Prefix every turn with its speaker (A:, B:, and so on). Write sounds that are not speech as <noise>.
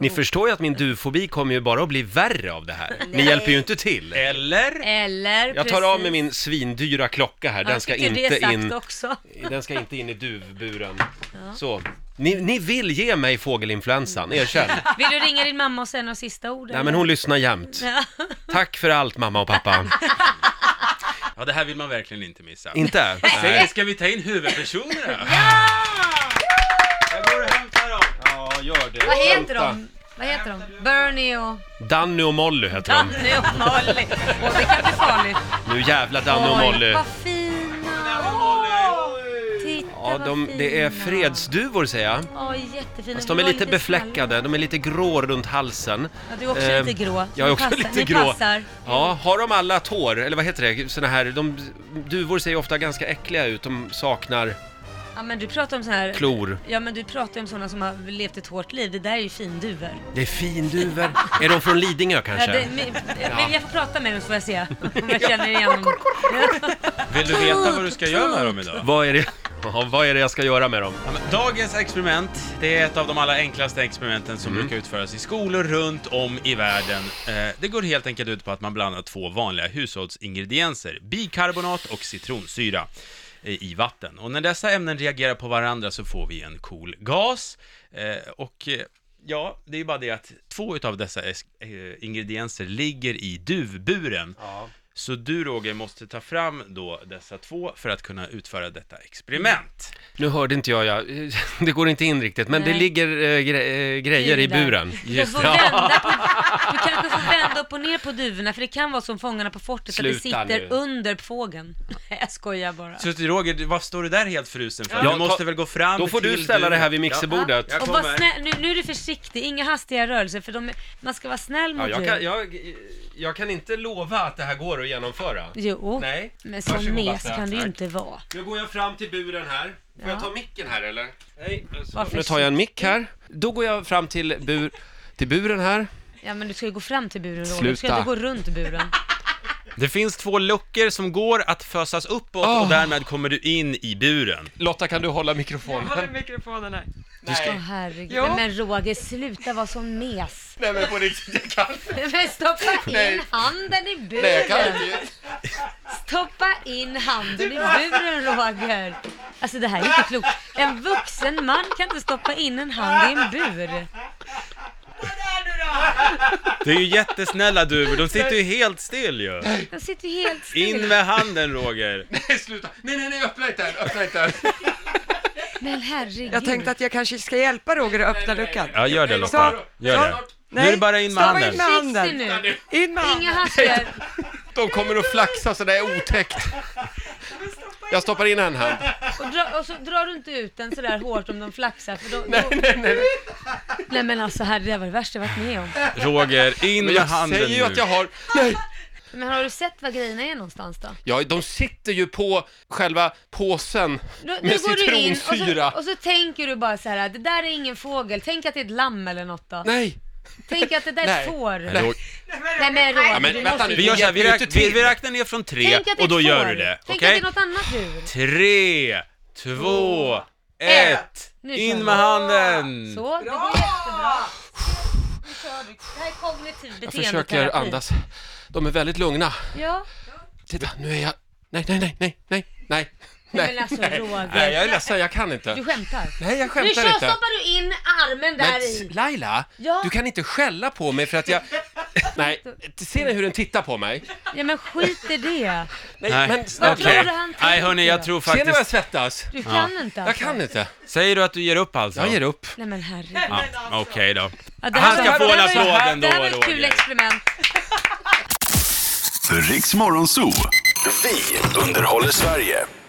A: Ni förstår ju att min dufobi kommer ju bara att bli värre av det här. Ni
B: Nej.
A: hjälper ju inte till.
C: Eller?
B: Eller
A: Jag tar av mig min svindyra klocka här, den ska inte in,
B: också.
A: den ska inte in i duvburen. Så. Ni, ni vill ge mig fågelinfluensan, erkänn.
B: <laughs> Vill du ringa din mamma och säga några sista ord?
A: Nej men hon lyssnar jämt.
B: Ja.
A: Tack för allt mamma och pappa.
C: Ja, det här vill man verkligen inte missa.
A: Inte?
C: Säg, ska vi ta in huvudpersonerna? Jag går och hämtar dem.
A: Ja, gör det.
B: Vad heter de? Vad heter de? Bernie och
A: Danny och Molly heter de.
B: Danny och Molly. Och det kan bli farligt.
A: Nu jävla Danne och
B: Oj,
A: Molly.
B: Vad fina! Titta
A: Ja,
B: vad
A: de,
B: fina.
A: det är fredsduvor säger jag.
B: Oj, jättefina.
A: Fast de är
B: Du har
A: lite befläckade, de är lite grå runt halsen.
B: Ja, du är också
A: Ehm,
B: lite grå.
A: Jag är
B: Ni
A: också
B: passar-
A: lite
B: ni
A: grå.
B: passar.
A: Ja, har de alla tår, eller vad heter det, såna här, de, duvor ser ju ofta ganska äckliga ut, de saknar
B: skallar. Ja, men du pratar om så här...
A: klor.
B: Ja, men du pratar ju om sådana som har levt ett hårt liv. Det där är ju finduvor.
A: Det är finduvor. är de från Lidingö
B: Ja,
A: kanske?
B: det, men,
A: <laughs>
B: men jag får prata med dem så får jag se om jag känner igen dem.
C: Vill du veta vad du ska göra med dem idag?
A: Vad är det? Ja, vad är det jag ska göra med dem?
C: Ja, men Dagens experiment, det är ett av de allra enklaste experimenten som brukar utföras i skolor runt om i världen. Eh, Det går helt enkelt ut på att man blandar två vanliga hushållsingredienser, bikarbonat och citronsyra eh, i vatten. Och när dessa ämnen reagerar på varandra så får vi en cool gas. Eh, Och eh, ja, det är ju bara det att två utav dessa es- eh, ingredienser ligger i duvburen. Så du Roger måste ta fram då dessa två för att kunna utföra detta experiment.
A: Nu hörde inte jag, jag <laughs> det går inte in riktigt, men det
B: Nej.
A: ligger eh, gre- eh, grejer i
B: Där.
A: buren.
B: Du, får vända på, du kanske får vända upp och ner på duvorna för det kan vara som Fångarna på fortet att
A: Sluta
B: det sitter
A: nu.
B: under fågeln. <laughs> Nej, jag skojar bara.
C: Så Roger, du- vad står du där helt frusen för?
A: Ja,
C: du måste
A: ta-
C: väl gå fram
A: Då får du
C: till
A: ställa
C: du-
A: det här vid
C: Ja.
A: mixerbordet.
C: Ja. jag
B: och var
C: kommer.
B: snäll, nu, nu är du försiktig, inga hastiga rörelser för de, är- man ska vara snäll
A: Ja,
B: mot
A: jag,
B: djur.
A: kan, jag, jag kan inte lova att det här går att genomföra.
B: Jo,
A: Nej.
B: men som
A: Varsågod,
B: mes
A: Basse.
B: kan det ju
A: Tack.
B: inte vara.
A: Nu går jag fram till buren här. Får
B: Ja.
A: jag ta micken här eller? Nej.
B: Var
A: Nu tar jag en mick här. Då går jag fram till, bur, till buren här.
B: Ja men du ska ju gå fram till buren Roger, du ska
A: Sluta.
B: inte gå runt buren.
C: Det finns två luckor som går att fösas uppåt
A: Ah.
C: och därmed kommer du in i buren.
A: Lotta kan du hålla mikrofonen?
D: Håller mikrofonen här.
B: Åh
A: Nej.
B: herregud.
D: Ja.
B: Nej, men Roger, sluta vara som mes.
A: Nej men på riktigt, jag kan
B: Men stoppa in
A: Nej.
B: handen i buren.
A: Nej, jag kan inte.
B: Stoppa in handen i buren Roger! Alltså det här är inte klokt. En vuxen man kan inte stoppa in en hand i en bur.
C: Det är ju jättesnälla duvor, de sitter ju helt still ju.
B: De sitter ju helt still.
C: In med handen Roger.
A: Nej sluta. Nej nej nej öppna inte den, öppna inte den.
B: Men herregud.
D: Jag tänkte att jag kanske ska hjälpa Roger att öppna luckan.
C: Ja, gör det Lotta.
D: Stopp.
C: Gör det.
A: Stopp.
C: Nu är det bara in med
D: stoppa
C: handen.
D: in med
B: Försiktig
D: handen.
B: nu.
D: In med
B: Inga
D: handen.
B: hastighet.
A: De kommer att flaxa så det är otäckt. Jag stoppar in en hand.
B: Och, dra, och så drar du inte ut den sådär hårt om de flaxar. För då, då... Nej,
A: Nej nej.
B: men alltså herre, det här var det värsta jag varit med om.
C: Roger, in
A: Men
C: med
A: jag
C: handen
A: säger ju
C: nu.
A: att jag har... Nej.
B: Men har du sett var grejerna är någonstans då?
A: Ja, de sitter ju på själva påsen
B: Nu, nu
A: med
B: går du in och
A: citronsyra.
B: så, och så tänker du bara så här, det där är ingen fågel. Tänk att det är ett lamm eller något då.
A: Nej!
B: Tänk att det där är
A: Nej.
B: ett får.
C: Nej, Roger,
B: Nej men Roger,
A: Ja, men
B: du
A: vänta
B: måste
A: nu.
C: Vi gör så här, vi,
A: Hjälper ju
C: räk
A: inte
C: vi,
A: till.
C: vi räknar ner från tre
B: Tänk att det är
C: och då
B: ett
C: gör
B: får.
C: du det.
B: Tänk
C: Okej?
B: att det är något annat djur.
C: Tre, två, ett.
B: Nu kör
C: In
B: vi.
C: med handen.
B: Så, det går jättebra. Nu kör vi. Det här är kognitiv
A: Jag
B: beteendeterapi.
A: försöker andas. De är väldigt lugna.
B: Ja.
A: Titta, nu är jag... Nej, nej, nej, nej, nej, nej.
B: Nej, men alltså Roger.
A: Nej, jag är ledsen, jag kan inte.
B: Du skämtar.
A: Nej, jag
B: Nu
A: skämtar
B: kör,
A: inte.
B: stoppar du in armen där i.
A: Men Laila,
B: Ja.
A: du kan inte skälla på mig för att
B: <laughs>
A: jag... Nej, ser ni hur den tittar på mig?
B: Ja men skit i det.
A: Nej,
C: Nej,
A: men
C: okej.
A: snart...
B: Vad tror du han
C: Nej
B: tänker
C: hörni, jag
B: då?
C: tror
A: Ser ni vad jag
C: faktiskt...
A: svettas?
B: Du kan inte
A: Jag
B: alltså.
A: kan inte.
C: Säger du att du ger upp alltså?
A: Jag ger upp.
B: Nej men herregud.
C: Ja, Okej då.
B: Ja, det här
C: Han ska
B: var-
C: få
B: det
C: en
B: här var ju-
C: applåd ändå,
B: Det här var ett kul
C: Roger.
B: experiment.
E: Riks Morgonzoo. Vi underhåller Sverige.